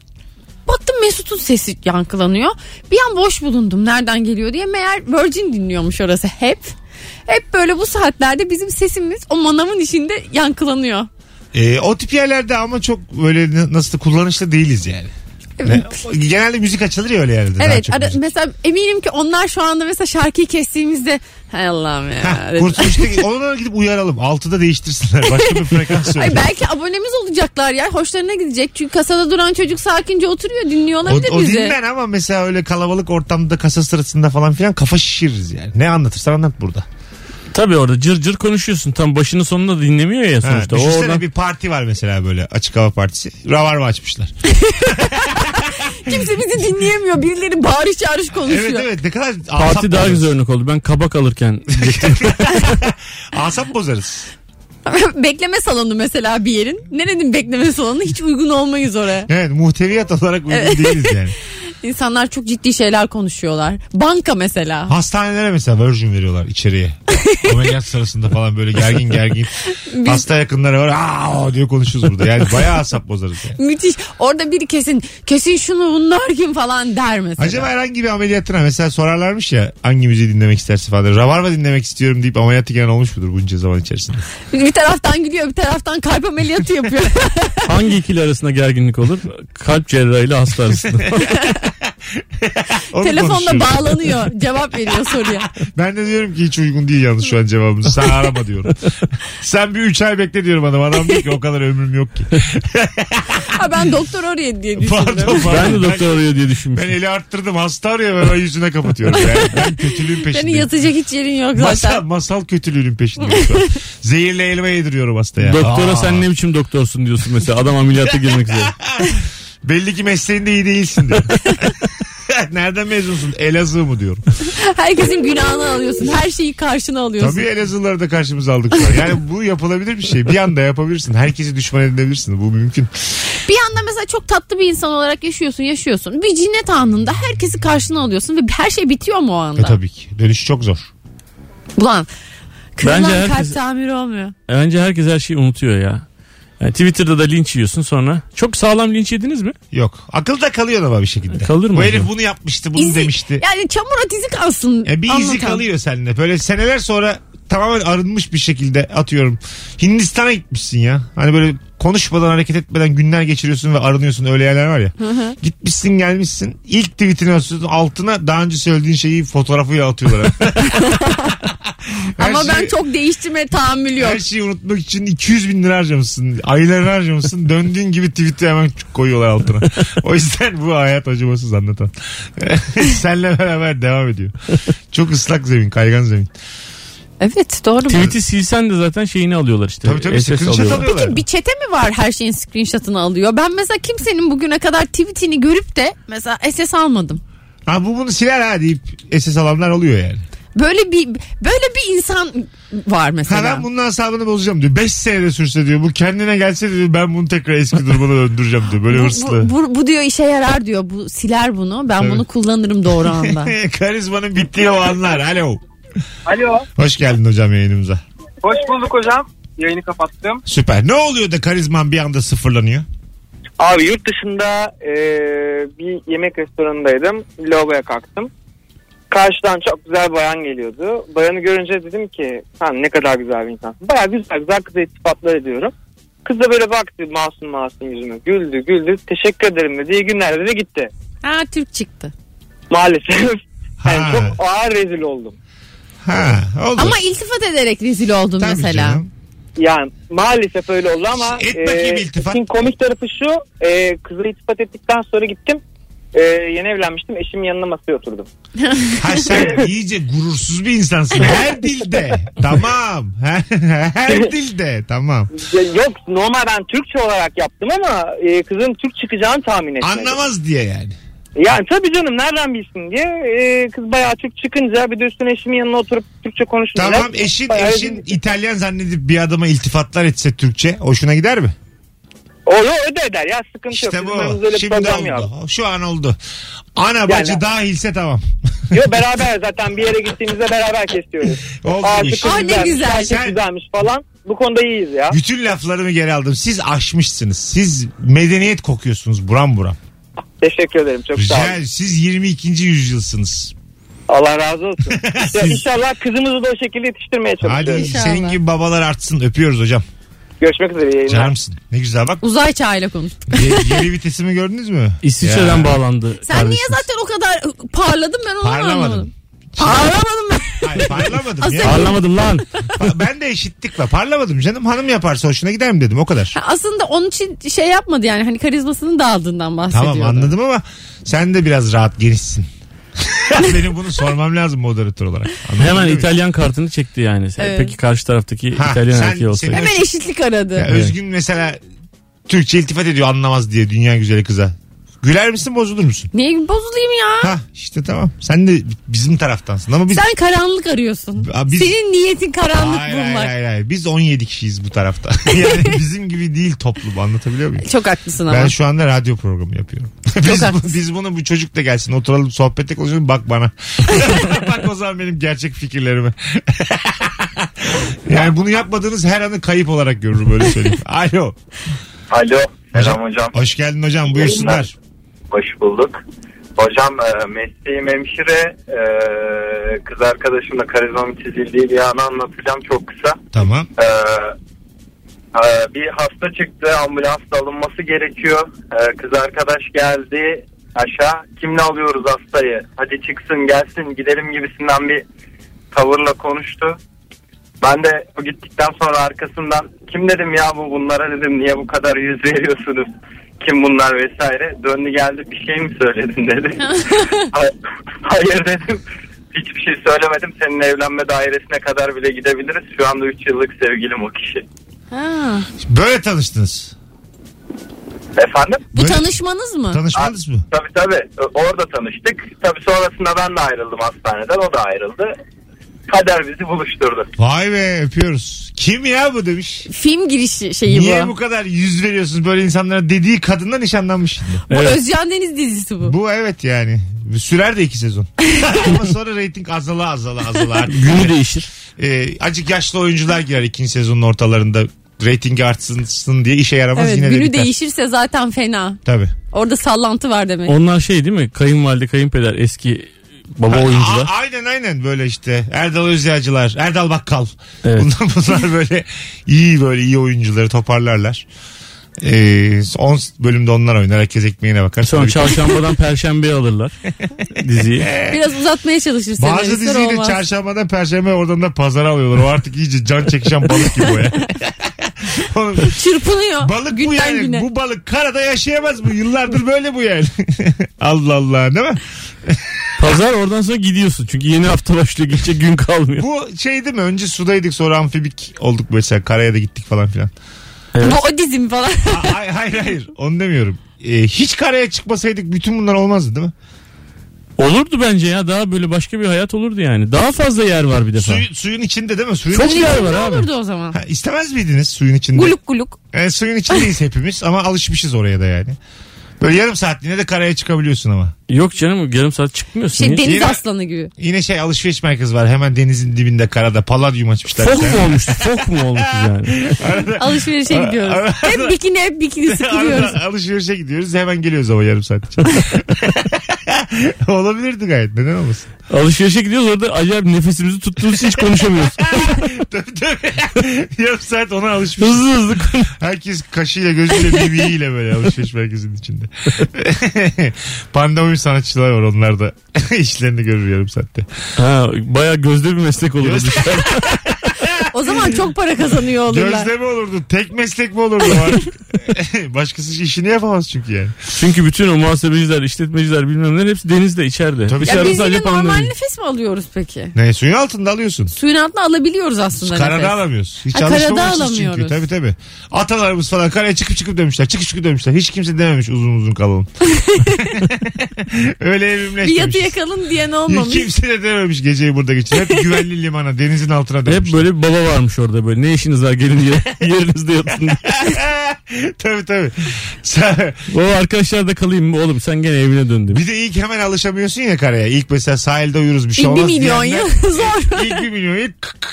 Speaker 4: Baktım Mesut'un sesi yankılanıyor. Bir an boş bulundum nereden geliyor diye. Meğer Virgin dinliyormuş orası hep. Hep böyle bu saatlerde bizim sesimiz o manavın içinde yankılanıyor.
Speaker 2: E, o tip yerlerde ama çok böyle n- nasıl da kullanışlı değiliz yani. Ne? Genelde müzik açılır ya öyle yerde. daha
Speaker 4: Evet
Speaker 2: çok
Speaker 4: ara-
Speaker 2: müzik.
Speaker 4: mesela eminim ki onlar şu anda mesela şarkıyı kestiğimizde Hay Allah'ım ya.
Speaker 2: Heh, Kurtuluş'ta onlara gidip uyaralım. Altıda değiştirsinler. Başka bir frekans
Speaker 4: Ay
Speaker 2: söyle.
Speaker 4: belki abonemiz olacaklar ya. Hoşlarına gidecek. Çünkü kasada duran çocuk sakince oturuyor dinliyor
Speaker 2: O,
Speaker 4: olabilir
Speaker 2: o
Speaker 4: bizi.
Speaker 2: dinlen ama mesela öyle kalabalık ortamda kasa sırasında falan filan kafa şişiririz yani. Ne anlatırsan anlat burada.
Speaker 3: Tabii orada cır cır konuşuyorsun. Tam başını sonunu da dinlemiyor ya
Speaker 2: Ha,
Speaker 3: sonuçta. o
Speaker 2: düşünsene
Speaker 3: oradan...
Speaker 2: bir parti var mesela böyle açık hava partisi. Ravarva açmışlar.
Speaker 4: Kimse bizi dinleyemiyor. Birileri bağırış çağırış konuşuyor.
Speaker 2: evet evet ne kadar
Speaker 3: Parti
Speaker 2: asap
Speaker 3: daha
Speaker 2: bozarız.
Speaker 3: güzel örnek oldu. Ben kabak alırken
Speaker 2: Asap bozarız.
Speaker 4: bekleme salonu mesela bir yerin. Nerenin bekleme salonu? Hiç uygun olmayız oraya.
Speaker 2: Evet muhteviyat olarak uygun değiliz yani.
Speaker 4: İnsanlar çok ciddi şeyler konuşuyorlar. Banka mesela.
Speaker 2: Hastanelere mesela Virgin veriyorlar içeriye. Ameliyat sırasında falan böyle gergin gergin. Hasta yakınları var. Aa diyor konuşuruz burada. Yani bayağı asap bozarız yani.
Speaker 4: Müthiş. Orada biri kesin kesin şunu bunlar kim falan der mesela.
Speaker 2: Acaba herhangi bir ameliyatına mesela sorarlarmış ya hangi müziği dinlemek istersin falan. Ravarva dinlemek istiyorum deyip ameliyatı gelen olmuş mudur bunca zaman içerisinde?
Speaker 4: Bir taraftan gülüyor bir taraftan kalp ameliyatı yapıyor.
Speaker 3: hangi ikili arasında gerginlik olur? Kalp cerrahıyla hasta arasında.
Speaker 2: Onu
Speaker 4: Telefonla
Speaker 2: konuşuyoruz.
Speaker 4: bağlanıyor. Cevap veriyor soruya.
Speaker 2: Ben de diyorum ki hiç uygun değil yalnız şu an cevabımız. Sen arama diyorum. Sen bir 3 ay bekle diyorum adam. Adam diyor ki o kadar ömrüm yok ki.
Speaker 4: Ha ben doktor oraya diye düşündüm.
Speaker 2: pardon pardon.
Speaker 3: ben de doktor arıyor diye
Speaker 2: Ben
Speaker 3: düşünmüştüm.
Speaker 2: eli arttırdım. Hasta arıyor ben yüzüne kapatıyorum. Yani ben kötülüğün
Speaker 4: Senin
Speaker 2: peşindeyim.
Speaker 4: yatacak hiç yerin yok zaten.
Speaker 2: Masal, masal kötülüğünün peşindeyim şu an. Zehirli elma yediriyorum hastaya.
Speaker 3: Doktora
Speaker 2: Aa,
Speaker 3: sen ne biçim doktorsun diyorsun mesela. Adam ameliyata girmek üzere.
Speaker 2: Belli ki mesleğinde iyi değilsin diyor. Nereden mezunsun? Elazığ mı diyorum.
Speaker 4: Herkesin günahını alıyorsun. Her şeyi karşına alıyorsun.
Speaker 2: Tabii Elazığlıları da karşımıza aldık. şu an. Yani bu yapılabilir bir şey. Bir anda yapabilirsin. Herkesi düşman edinebilirsin. Bu mümkün. E,
Speaker 4: Bir yandan mesela çok tatlı bir insan olarak yaşıyorsun, yaşıyorsun. Bir cinnet anında herkesi karşına alıyorsun ve her şey bitiyor mu o anda?
Speaker 2: E tabii ki. Dönüş çok zor.
Speaker 4: Ulan kırılan
Speaker 3: Bence herkes-
Speaker 4: kalp tamiri olmuyor.
Speaker 3: Bence herkes her şeyi unutuyor ya. Yani Twitter'da da linç yiyorsun sonra. Çok sağlam linç yediniz mi?
Speaker 2: Yok. Akılda kalıyor ama bir şekilde.
Speaker 3: Kalır mı
Speaker 2: Bu herif
Speaker 3: acaba?
Speaker 2: bunu yapmıştı, bunu
Speaker 4: İzi-
Speaker 2: demişti.
Speaker 4: Yani çamura dizi kalsın.
Speaker 2: E bir izi
Speaker 4: anlatan.
Speaker 2: kalıyor seninle. Böyle seneler sonra tamamen arınmış bir şekilde atıyorum. Hindistan'a gitmişsin ya. Hani böyle konuşmadan hareket etmeden günler geçiriyorsun ve arınıyorsun öyle yerler var ya. Gitmişsin gelmişsin. İlk tweetini atıyorsun. Altına daha önce söylediğin şeyi fotoğrafıyla atıyorlar. Her şey-
Speaker 4: Ama ben
Speaker 2: şeyi-
Speaker 4: çok değiştirme tahammül yok.
Speaker 2: Her şey- şeyi unutmak için 200 bin lira harcamışsın. Aylarını harcamışsın. Döndüğün gibi tweet'i hemen koyuyorlar altına. O yüzden bu hayat acımasız anlatan. Senle beraber devam ediyor. Çok ıslak zemin, kaygan zemin.
Speaker 4: Evet doğru. mu?
Speaker 3: Tweet'i silsen de zaten şeyini alıyorlar işte.
Speaker 2: Tabii tabii
Speaker 3: SS
Speaker 2: screenshot
Speaker 3: alıyorlar.
Speaker 2: alıyorlar.
Speaker 4: Peki bir çete mi var her şeyin screenshot'ını alıyor? Ben mesela kimsenin bugüne kadar tweetini görüp de mesela SS almadım.
Speaker 2: Ha bu bunu siler ha deyip SS alanlar oluyor yani.
Speaker 4: Böyle bir böyle bir insan var
Speaker 2: Ha
Speaker 4: mesela.
Speaker 2: ben bunun hesabını bozacağım diyor. 5 senede sürse diyor. Bu kendine gelse diyor ben bunu tekrar eski durumuna döndüreceğim diyor. Böyle
Speaker 4: Bu-
Speaker 2: hırslı.
Speaker 4: Bu, bu, bu diyor işe yarar diyor. Bu siler bunu. Ben
Speaker 2: Tabii.
Speaker 4: bunu kullanırım doğru anda.
Speaker 2: Karizmanın bittiği o anlar. Alo.
Speaker 5: Alo.
Speaker 2: Hoş geldin hocam yayınımıza.
Speaker 5: Hoş bulduk hocam. Yayını kapattım.
Speaker 2: Süper. Ne oluyor da karizman bir anda sıfırlanıyor?
Speaker 5: Abi yurt dışında e, bir yemek restoranındaydım. Lavaboya kalktım. Karşıdan çok güzel bayan geliyordu. Bayanı görünce dedim ki sen ne kadar güzel bir insansın. Baya güzel güzel kıza iltifatlar ediyorum. Kız da böyle baktı masum masum yüzüme. Güldü güldü. Teşekkür ederim dedi. İyi günler dedi gitti.
Speaker 4: ha Türk çıktı.
Speaker 5: Maalesef.
Speaker 2: Ha.
Speaker 5: Yani çok ağır rezil oldum.
Speaker 2: Ha, olur.
Speaker 4: Ama iltifat ederek rezil oldum
Speaker 2: Tabii
Speaker 4: mesela.
Speaker 2: canım.
Speaker 5: Yani maalesef öyle oldu ama
Speaker 2: Et bakayım iltifat.
Speaker 6: e,
Speaker 5: işin komik tarafı şu e, kıza iltifat ettikten sonra gittim
Speaker 6: Ee, yeni evlenmiştim. Eşimin yanına masaya oturdum.
Speaker 2: Ha sen iyice gurursuz bir insansın. Her dilde. Tamam. Her dilde. Tamam.
Speaker 6: Ya, yok normal ben Türkçe olarak yaptım ama e, kızın Türk çıkacağını tahmin etmedim.
Speaker 2: Anlamaz diye yani.
Speaker 6: Yani tabii canım nereden bilsin diye. Ee, kız bayağı Türk çıkınca bir de üstüne eşimin yanına oturup Türkçe konuşunca.
Speaker 2: Tamam eşin
Speaker 6: bayağı
Speaker 2: eşin
Speaker 6: bir-
Speaker 2: İtalyan zannedip bir adama iltifatlar etse Türkçe hoşuna gider mi?
Speaker 6: O yo, öde eder ya sıkıntı
Speaker 2: İşte
Speaker 6: yok.
Speaker 2: bu.
Speaker 6: Bizim aramızda öyle bir
Speaker 2: Şimdi
Speaker 6: problem yok.
Speaker 2: oldu. Şu an oldu. Ana bacı dahilse tamam.
Speaker 6: Yo beraber zaten bir yere gittiğimizde beraber kesiyoruz.
Speaker 2: Oldu
Speaker 6: Aa,
Speaker 2: iş.
Speaker 6: çok
Speaker 4: Aa, ne
Speaker 6: güzelmiş,
Speaker 4: güzel.
Speaker 6: gerçek
Speaker 2: Sen-
Speaker 6: güzelmiş falan. Bu konuda iyiyiz ya.
Speaker 2: Bütün laflarımı geri aldım. Siz aşmışsınız. Siz medeniyet kokuyorsunuz buram buram.
Speaker 6: Teşekkür ederim çok sağ
Speaker 2: Rica
Speaker 6: olun.
Speaker 2: ederim. Siz 22. yüzyılsınız.
Speaker 6: Allah razı olsun. ya, inşallah kızımızı da o şekilde yetiştirmeye
Speaker 2: Hadi
Speaker 6: çalışıyoruz.
Speaker 4: İnşallah.
Speaker 2: senin gibi babalar artsın. Öpüyoruz hocam.
Speaker 6: Görüşmek üzere iyi yayınlar.
Speaker 2: Canımsın. Ne güzel bak.
Speaker 4: Uzay çağıyla konuş.
Speaker 2: Ye- yeni vitesimi gördünüz mü?
Speaker 3: İsviçre'den
Speaker 2: Ya.
Speaker 3: bağlandı.
Speaker 4: Sen niye zaten o kadar parladın ben onu anlamadım.
Speaker 2: Parlamadım.
Speaker 4: Parlamadım ben.
Speaker 2: Hayır parlamadım. ya.
Speaker 4: Aslında-
Speaker 3: Anlamadım lan.
Speaker 2: Pa- ben de eşitlikle parlamadım canım. Hanım yaparsa hoşuna gider mi dedim o kadar.
Speaker 4: Ha, Aslında onun için şey yapmadı yani hani karizmasının dağıldığından bahsediyordu.
Speaker 2: Tamam anladım ama sen de biraz rahat genişsin. Benim bunu sormam lazım moderatör olarak. Anladın
Speaker 3: Hemen
Speaker 2: değil mi?
Speaker 3: İtalyan kartını çekti yani.
Speaker 4: Evet.
Speaker 3: Peki karşı taraftaki
Speaker 2: Ha,
Speaker 3: İtalyan
Speaker 2: sen-
Speaker 3: erkeği olsaydı.
Speaker 2: senin-
Speaker 4: Hemen eşitlik aradı.
Speaker 2: Ya Özgün mesela Türkçe iltifat ediyor anlamaz diye dünya güzeli kıza. Güler misin bozulur musun?
Speaker 4: Niye bozulayım ya?
Speaker 2: Ha işte tamam. Sen de bizim taraftansın ama biz...
Speaker 4: Sen karanlık arıyorsun.
Speaker 2: Aa, biz-
Speaker 4: Senin niyetin karanlık
Speaker 2: Hayır, hayır,
Speaker 4: bulmak.
Speaker 2: hayır, hayır. Biz 17 kişiyiz bu tarafta. Yani bizim gibi değil toplum anlatabiliyor muyum?
Speaker 4: Çok haklısın ama.
Speaker 2: Ben şu anda radyo programı yapıyorum. biz, bu,
Speaker 4: haklısın.
Speaker 2: biz bunu bu çocuk da gelsin oturalım sohbette konuşalım bak bana. bak o zaman benim gerçek fikirlerime. yani bunu yapmadığınız her anı kayıp olarak görürüm böyle söyleyeyim. Alo.
Speaker 7: Alo.
Speaker 2: Hocam,
Speaker 7: Selam hocam.
Speaker 2: Hoş geldin hocam buyursunlar.
Speaker 7: Hoş bulduk. Hocam e, mesleğim hemşire. E, kız arkadaşımla karizmamın çizildiği bir anı anlatacağım çok kısa.
Speaker 2: Tamam.
Speaker 7: E, e, bir hasta çıktı. Ambulansla alınması gerekiyor. E, kız arkadaş geldi aşağı. Kimle alıyoruz hastayı? Hadi çıksın gelsin gidelim gibisinden bir tavırla konuştu. Ben de o gittikten sonra arkasından kim dedim ya bu bunlara dedim niye bu kadar yüz veriyorsunuz? Kim bunlar vesaire. Döndü geldi bir şey mi söyledin dedi. Hayır- Hayır dedim. Hiçbir şey söylemedim. Senin evlenme dairesine kadar bile gidebiliriz. Şu anda 3 yıllık sevgilim o kişi.
Speaker 4: Ha.
Speaker 2: Böyle tanıştınız.
Speaker 7: Efendim?
Speaker 4: Bu
Speaker 2: Böyle-
Speaker 4: tanışmanız mı?
Speaker 2: Tanışmadınız mı?
Speaker 7: Tabii tabii. Orada tanıştık. Tabii sonrasında ben de ayrıldım hastaneden. O da ayrıldı. Kader bizi buluşturdu.
Speaker 2: Vay be öpüyoruz. Kim ya bu demiş.
Speaker 4: Film girişi şeyi
Speaker 2: Niye
Speaker 4: bu.
Speaker 2: bu kadar yüz veriyorsunuz böyle insanlara dediği kadından nişanlanmış şimdi.
Speaker 4: Bu
Speaker 3: Evet.
Speaker 4: Özcan Deniz dizisi bu.
Speaker 2: Bu evet yani. Sürer de iki sezon. Ama sonra reyting azala azala azala. Artık
Speaker 3: Günü değişir.
Speaker 2: e, acık yaşlı oyuncular girer ikinci sezonun ortalarında. Reytingi artsın diye işe yaramaz
Speaker 4: Evet
Speaker 2: yine de
Speaker 4: günü
Speaker 2: biter.
Speaker 4: değişirse zaten fena.
Speaker 2: Tabii.
Speaker 4: Orada sallantı var demek.
Speaker 3: Onlar şey değil mi? Kayınvalide, kayınpeder eski baba oyuncular.
Speaker 2: A- aynen aynen böyle işte Erdal Özyacılar, Erdal Bakkal.
Speaker 3: Evet.
Speaker 2: Bunlar, bunlar böyle iyi böyle iyi oyuncuları toparlarlar. 10 bölümde onlar oynar. Herkes ekmeğine bakar.
Speaker 3: Sonra
Speaker 2: Tabii.
Speaker 3: çarşambadan perşembeye alırlar diziyi.
Speaker 4: Biraz uzatmaya çalışır
Speaker 2: Bazı
Speaker 4: senaristler,
Speaker 2: diziyi de
Speaker 4: olmaz.
Speaker 2: çarşambadan perşembe oradan da pazara alıyorlar. O artık iyice can çekişen balık gibi o ya. Oğlum,
Speaker 4: Çırpınıyor.
Speaker 2: balık bu
Speaker 4: günden
Speaker 2: yani.
Speaker 4: güne.
Speaker 2: Bu balık karada yaşayamaz bu. Yıllardır böyle bu yani. Allah Allah değil mi?
Speaker 3: Pazar oradan sonra gidiyorsun. Çünkü yeni hafta başlıyor. Gidecek gün kalmıyor.
Speaker 2: Bu şey değil mi? Önce sudaydık sonra amfibik olduk mesela. Karaya da gittik falan filan.
Speaker 4: Bu o dizim falan.
Speaker 2: Ha- hay- hayır hayır onu demiyorum. Ee, hiç karaya çıkmasaydık bütün bunlar olmazdı değil mi?
Speaker 3: Olurdu bence ya. Daha böyle başka bir hayat olurdu yani. Daha fazla yer var bir defa.
Speaker 2: Suyu- suyun içinde değil mi? Suyun
Speaker 3: Çok
Speaker 2: içinde.
Speaker 3: yer var
Speaker 4: ne
Speaker 3: abi.
Speaker 4: olurdu o zaman?
Speaker 2: Ha, istemez miydiniz suyun içinde?
Speaker 4: Guluk guluk.
Speaker 2: Ee, suyun içindeyiz hepimiz ama alışmışız oraya da yani. Böyle yarım saatliğine de karaya çıkabiliyorsun ama.
Speaker 3: Yok canım yarım saat çıkmıyorsun.
Speaker 4: Şey
Speaker 3: ya.
Speaker 4: deniz
Speaker 2: Yine-
Speaker 4: aslanı gibi.
Speaker 2: Yine şey alışveriş merkezi var hemen denizin dibinde karada paladyum açmışlar.
Speaker 3: Fok mu olmuştu? Fok mu olmuştu yani?
Speaker 4: Alışverişe gidiyoruz. Hep bikini hep bikini sıkılıyoruz.
Speaker 2: Arada alışverişe gidiyoruz hemen geliyoruz ama yarım saat için. Olabilirdi gayet neden olmasın.
Speaker 3: Alışverişe gidiyoruz orada acayip nefesimizi tuttuğumuz için hiç konuşamıyoruz.
Speaker 2: Tabii tabii. yarım saat ona alışmış.
Speaker 3: Hızlı hızlı konuş-
Speaker 2: Herkes kaşıyla gözüyle birbiriyle böyle alışveriş merkezinin içinde. Pandemi sanatçılar var onlar da. İşlerini görür yarım saatte.
Speaker 3: Ha, baya gözde bir meslek olur.
Speaker 2: Göz-
Speaker 4: O zaman çok para kazanıyor olurlar.
Speaker 2: Gözde mi olurdu? Tek meslek mi olurdu? Başkası işini yapamaz çünkü yani.
Speaker 3: Çünkü bütün o muhasebeciler, işletmeciler bilmem neler hepsi denizde içeride.
Speaker 2: Tabii.
Speaker 4: Ya
Speaker 3: Dışarıda
Speaker 4: biz yine
Speaker 3: sadece
Speaker 4: normal
Speaker 3: pandemi.
Speaker 4: nefes mi alıyoruz peki?
Speaker 2: Ne suyun altında alıyorsun.
Speaker 4: Suyun altına alabiliyoruz aslında nefes.
Speaker 2: Karada alamıyoruz. Hiç
Speaker 4: Ha, karada
Speaker 2: alışmamışız çünkü.
Speaker 4: alamıyoruz.
Speaker 2: Tabii tabii. Atalarımız falan karaya çıkıp çıkıp demişler. Çıkıp çıkıp demişler. Hiç kimse dememiş uzun uzun kalalım. Öyle
Speaker 4: Bir yatıya
Speaker 2: evrimleşmemiş.
Speaker 4: kalın diyen
Speaker 2: Hiç
Speaker 4: olmamış.
Speaker 2: kimse de dememiş geceyi burada geçir. Hep güvenli limana, denizin altına dönmüş.
Speaker 3: Hep böyle bir baba varmış orada böyle. Ne işiniz var gelin diye yerinizde yatın.
Speaker 2: tabii tabii. Sen-
Speaker 3: Baba arkadaşlar da kalayım mı oğlum sen gene evine dön demiş.
Speaker 2: bir de ilk hemen alışamıyorsun ya karaya. İlk mesela sahilde uyuruz bir şey
Speaker 4: Bir
Speaker 2: olmaz
Speaker 4: milyon
Speaker 2: diyenler-
Speaker 4: ya zor.
Speaker 2: İlk bir milyon yıl k- k-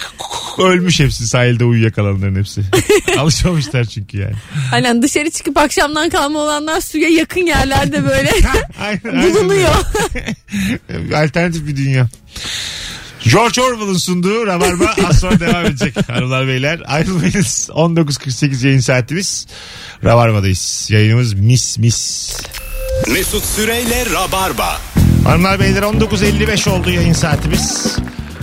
Speaker 2: k- ölmüş hepsi sahilde uyuyakalanların hepsi. Alışmamışlar çünkü yani.
Speaker 4: Aynen dışarı çıkıp akşamdan kalma olanlar suya yakın yerlerde böyle
Speaker 2: Aynen, aynen
Speaker 4: bulunuyor.
Speaker 2: öyle. Alternatif bir dünya. George Orwell'ın sunduğu Rabarba az sonra devam edecek hanımlar beyler. Ayrılmayınız. 19.48 yayın saatimiz. Rabarba'dayız. Yayınımız mis mis.
Speaker 1: Mesut Süreyle Rabarba.
Speaker 2: Hanımlar beyler 19.55 oldu yayın saatimiz.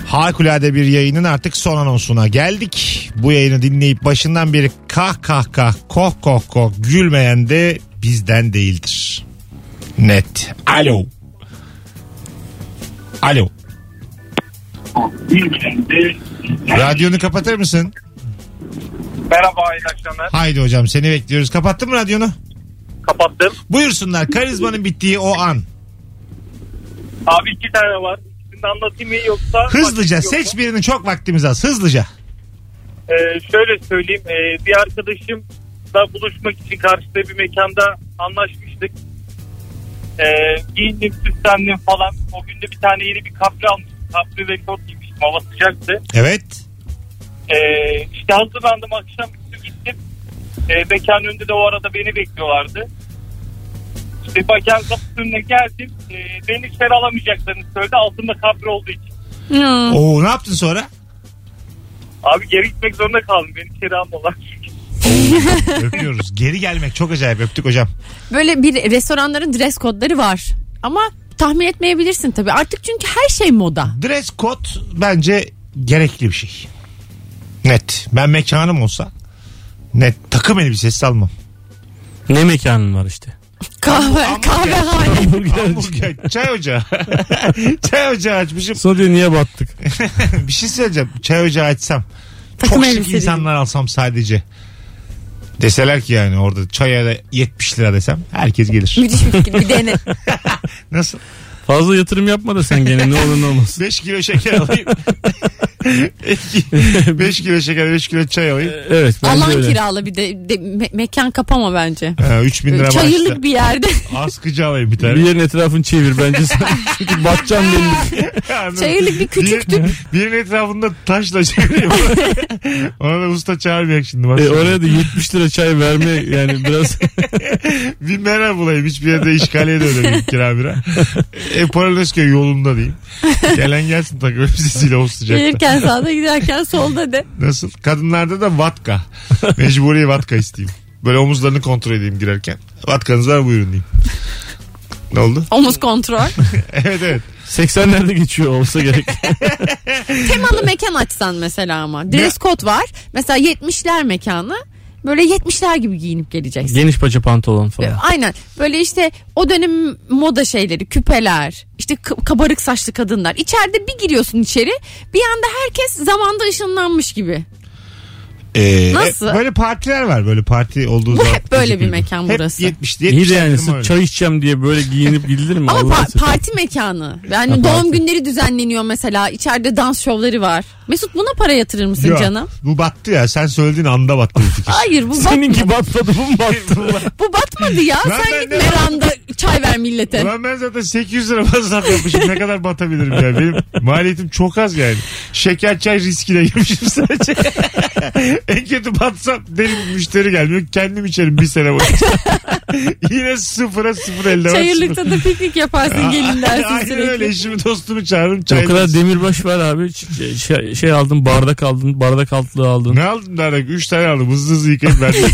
Speaker 2: Harikulade bir yayının artık son anonsuna geldik. Bu yayını dinleyip başından beri kah kah kah koh koh koh gülmeyen de bizden değildir. Net. Alo. Alo. Radyonu kapatır mısın?
Speaker 5: Merhaba hayırlı akşamlar.
Speaker 2: Haydi hocam seni bekliyoruz. Kapattın mı radyonu?
Speaker 5: Kapattım.
Speaker 2: Buyursunlar karizmanın bittiği o an.
Speaker 5: Abi iki tane var. İkisini de anlatayım mı yoksa?
Speaker 2: Hızlıca
Speaker 5: Yoksa-
Speaker 2: seç birini çok vaktimiz az. Hızlıca.
Speaker 5: Ee, şöyle söyleyeyim. Ee, bir arkadaşımla buluşmak için karşıda bir mekanda anlaşmıştık. Ee, giyindim, süslendim falan. O gün de bir tane yeni bir kapri almıştım. Kapri ve kot giymiştim. Hava sıcaktı.
Speaker 2: Evet.
Speaker 5: Ee, işte hazırlandım akşam üstü gittim. Ee, mekan önünde de o arada beni bekliyorlardı. İşte mekan kapısının önüne geldim. Ee, beni içeri alamayacaklarını söyledi. Altında kapri olduğu için.
Speaker 4: Hmm.
Speaker 2: Oo ne yaptın sonra?
Speaker 5: Abi geri gitmek zorunda kaldım. Beni içeri almalar.
Speaker 2: Öpüyoruz. Geri gelmek çok acayip. Öptük hocam.
Speaker 4: Böyle bir restoranların dress kodları var. Ama tahmin etmeyebilirsin tabii. Artık çünkü her şey moda.
Speaker 2: Dress code bence gerekli bir şey. Net. Ben mekanım olsa net takım elbisesi almam.
Speaker 3: Ne mekanın var işte.
Speaker 4: Kahve, kahvehane.
Speaker 3: Hamburgerci.
Speaker 2: Hamburger, çay ocağı. çay ocağı açmışım.
Speaker 3: Sonra niye battık?
Speaker 2: Bir şey söyleyeceğim. Çay ocağı açsam.
Speaker 4: Takım
Speaker 2: çok şık
Speaker 4: elbiseli.
Speaker 2: insanlar alsam sadece. Deseler ki yani orada çaya da 70 lira desem herkes gelir.
Speaker 4: Müthiş bir fikir. Bir hani dene.
Speaker 2: Nasıl?
Speaker 3: Fazla yatırım yapma da sen gene ne olur ne olmaz.
Speaker 2: 5 kilo şeker alayım. 5 kilo şeker 5 kilo çay alayım.
Speaker 3: Evet bence
Speaker 4: Alan
Speaker 3: öyle.
Speaker 4: kirala bir de, de me- mekan kapama bence.
Speaker 2: Ee, 3000 lira
Speaker 4: Çayırlık bir yerde.
Speaker 2: başta. Askıcı alayım bir
Speaker 3: Bir
Speaker 2: tane.
Speaker 3: yerin etrafını çevir bence sen. Çünkü batacağım belli.
Speaker 2: Anladın mı?
Speaker 4: Çayırlık bir küçük
Speaker 2: Bir- birinin etrafında taşla çeviriyor. Ona da usta çağırmayak şimdi. Bak.
Speaker 3: E, oraya da 70 lira çay verme yani biraz
Speaker 2: Bir meral bulayım. Hiçbir yerde işgaliye de ödemeyeyim kira bira. E, Polonezköy yolunda diyeyim. Gelen gelsin takım elbisesiyle o sıcakta.
Speaker 4: gelirken sağda giderken solda de.
Speaker 2: Nasıl? Kadınlarda da vatka. Mecburi vatka isteyeyim. Böyle omuzlarını kontrol edeyim girerken. Vatkanız var buyurun diyeyim. Ne oldu?
Speaker 4: Omuz kontrol.
Speaker 2: Evet evet.
Speaker 3: 80'lerde geçiyor olsa gerek.
Speaker 4: Temalı mekan açsan mesela ama. Dress code var. Mesela 70'ler mekanı. Böyle 70'ler gibi giyinip geleceksin.
Speaker 3: Geniş paça pantolon falan.
Speaker 4: Ee, Aynen. Böyle işte o dönem moda şeyleri, küpeler, işte k- kabarık saçlı kadınlar. İçeride bir giriyorsun içeri. Bir anda herkes zamanda ışınlanmış gibi.
Speaker 2: Ee,
Speaker 4: Nasıl?
Speaker 2: e, Böyle partiler var böyle parti olduğu zaman.
Speaker 4: hep böyle
Speaker 2: küçük
Speaker 4: bir mekan burası.
Speaker 2: Hep 70'li 70'li
Speaker 3: İyi de yani
Speaker 2: takım
Speaker 3: sırf
Speaker 2: öyle.
Speaker 3: çay içeceğim diye böyle giyinip gidilir mi?
Speaker 4: Ama
Speaker 3: Allah'ın
Speaker 4: pa-
Speaker 3: seversen.
Speaker 4: parti mekanı. Yani
Speaker 3: Ha, parti.
Speaker 4: doğum günleri düzenleniyor mesela. İçeride dans şovları var. Mesut buna para yatırır mısın
Speaker 2: Yok,
Speaker 4: canım?
Speaker 2: Bu battı ya sen söylediğin anda battı bu fikir.
Speaker 4: Hayır bu batmadı.
Speaker 3: Seninki batmadı bu mu battı?
Speaker 4: Bu batmadı ya.
Speaker 2: Lan ben
Speaker 4: Sen git
Speaker 2: ne-
Speaker 4: veranda çay ver millete.
Speaker 2: Ulan ben zaten 800 lira masraf yapmışım. Ne kadar batabilirim ya? Benim maliyetim çok az yani. Şeker çay riskine girmişim sadece. en kötü batsam benim müşteri gelmiyor. Kendim içerim bir sene boyunca. Yine sıfıra sıfır elde var. sıfır.
Speaker 4: Çayırlıkta da piknik yaparsın gelin dersin
Speaker 2: Aynen öyle
Speaker 4: sürekli.
Speaker 2: eşimi dostumu çağırırım.
Speaker 3: O
Speaker 2: Çay
Speaker 3: kadar demirbaş var abi. Ç- Şey, şey aldın bardak aldın bardak altlığı aldın.
Speaker 2: Ne aldın da 3 tane aldım hızlı hızlı yıkayıp verdim.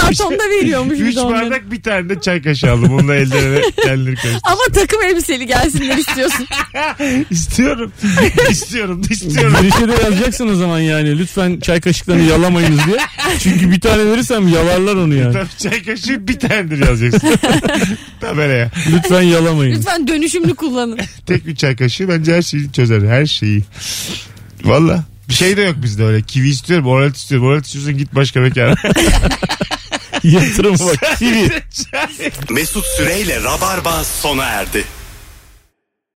Speaker 4: Kartonda veriyormuş bir
Speaker 2: Üç
Speaker 4: de onları.
Speaker 2: bardak bir tane de çay kaşığı aldım. Onunla ellerine kendileri karıştı.
Speaker 4: Ama takım elbiseli gelsinler istiyorsun.
Speaker 2: İstiyorum. İstiyorum. İstiyorum.
Speaker 3: Girişe de yazacaksın o zaman yani. Lütfen çay kaşıklarını yalamayınız diye. Çünkü bir tane verirsem yalarlar onu yani.
Speaker 2: Tabii çay kaşığı bir tanedir yazacaksın. Tabela ya.
Speaker 3: Lütfen yalamayın.
Speaker 4: Lütfen dönüşümlü kullanın.
Speaker 2: Tek bir çay kaşığı bence her şeyi çözer. Her şeyi. Valla. Bir şey de yok bizde öyle. Kivi istiyorum, oralet istiyorum. Oralet istiyorsun git başka mekana.
Speaker 3: Yatırım bak. Kivi.
Speaker 1: Mesut Süreyle Rabarba sona erdi.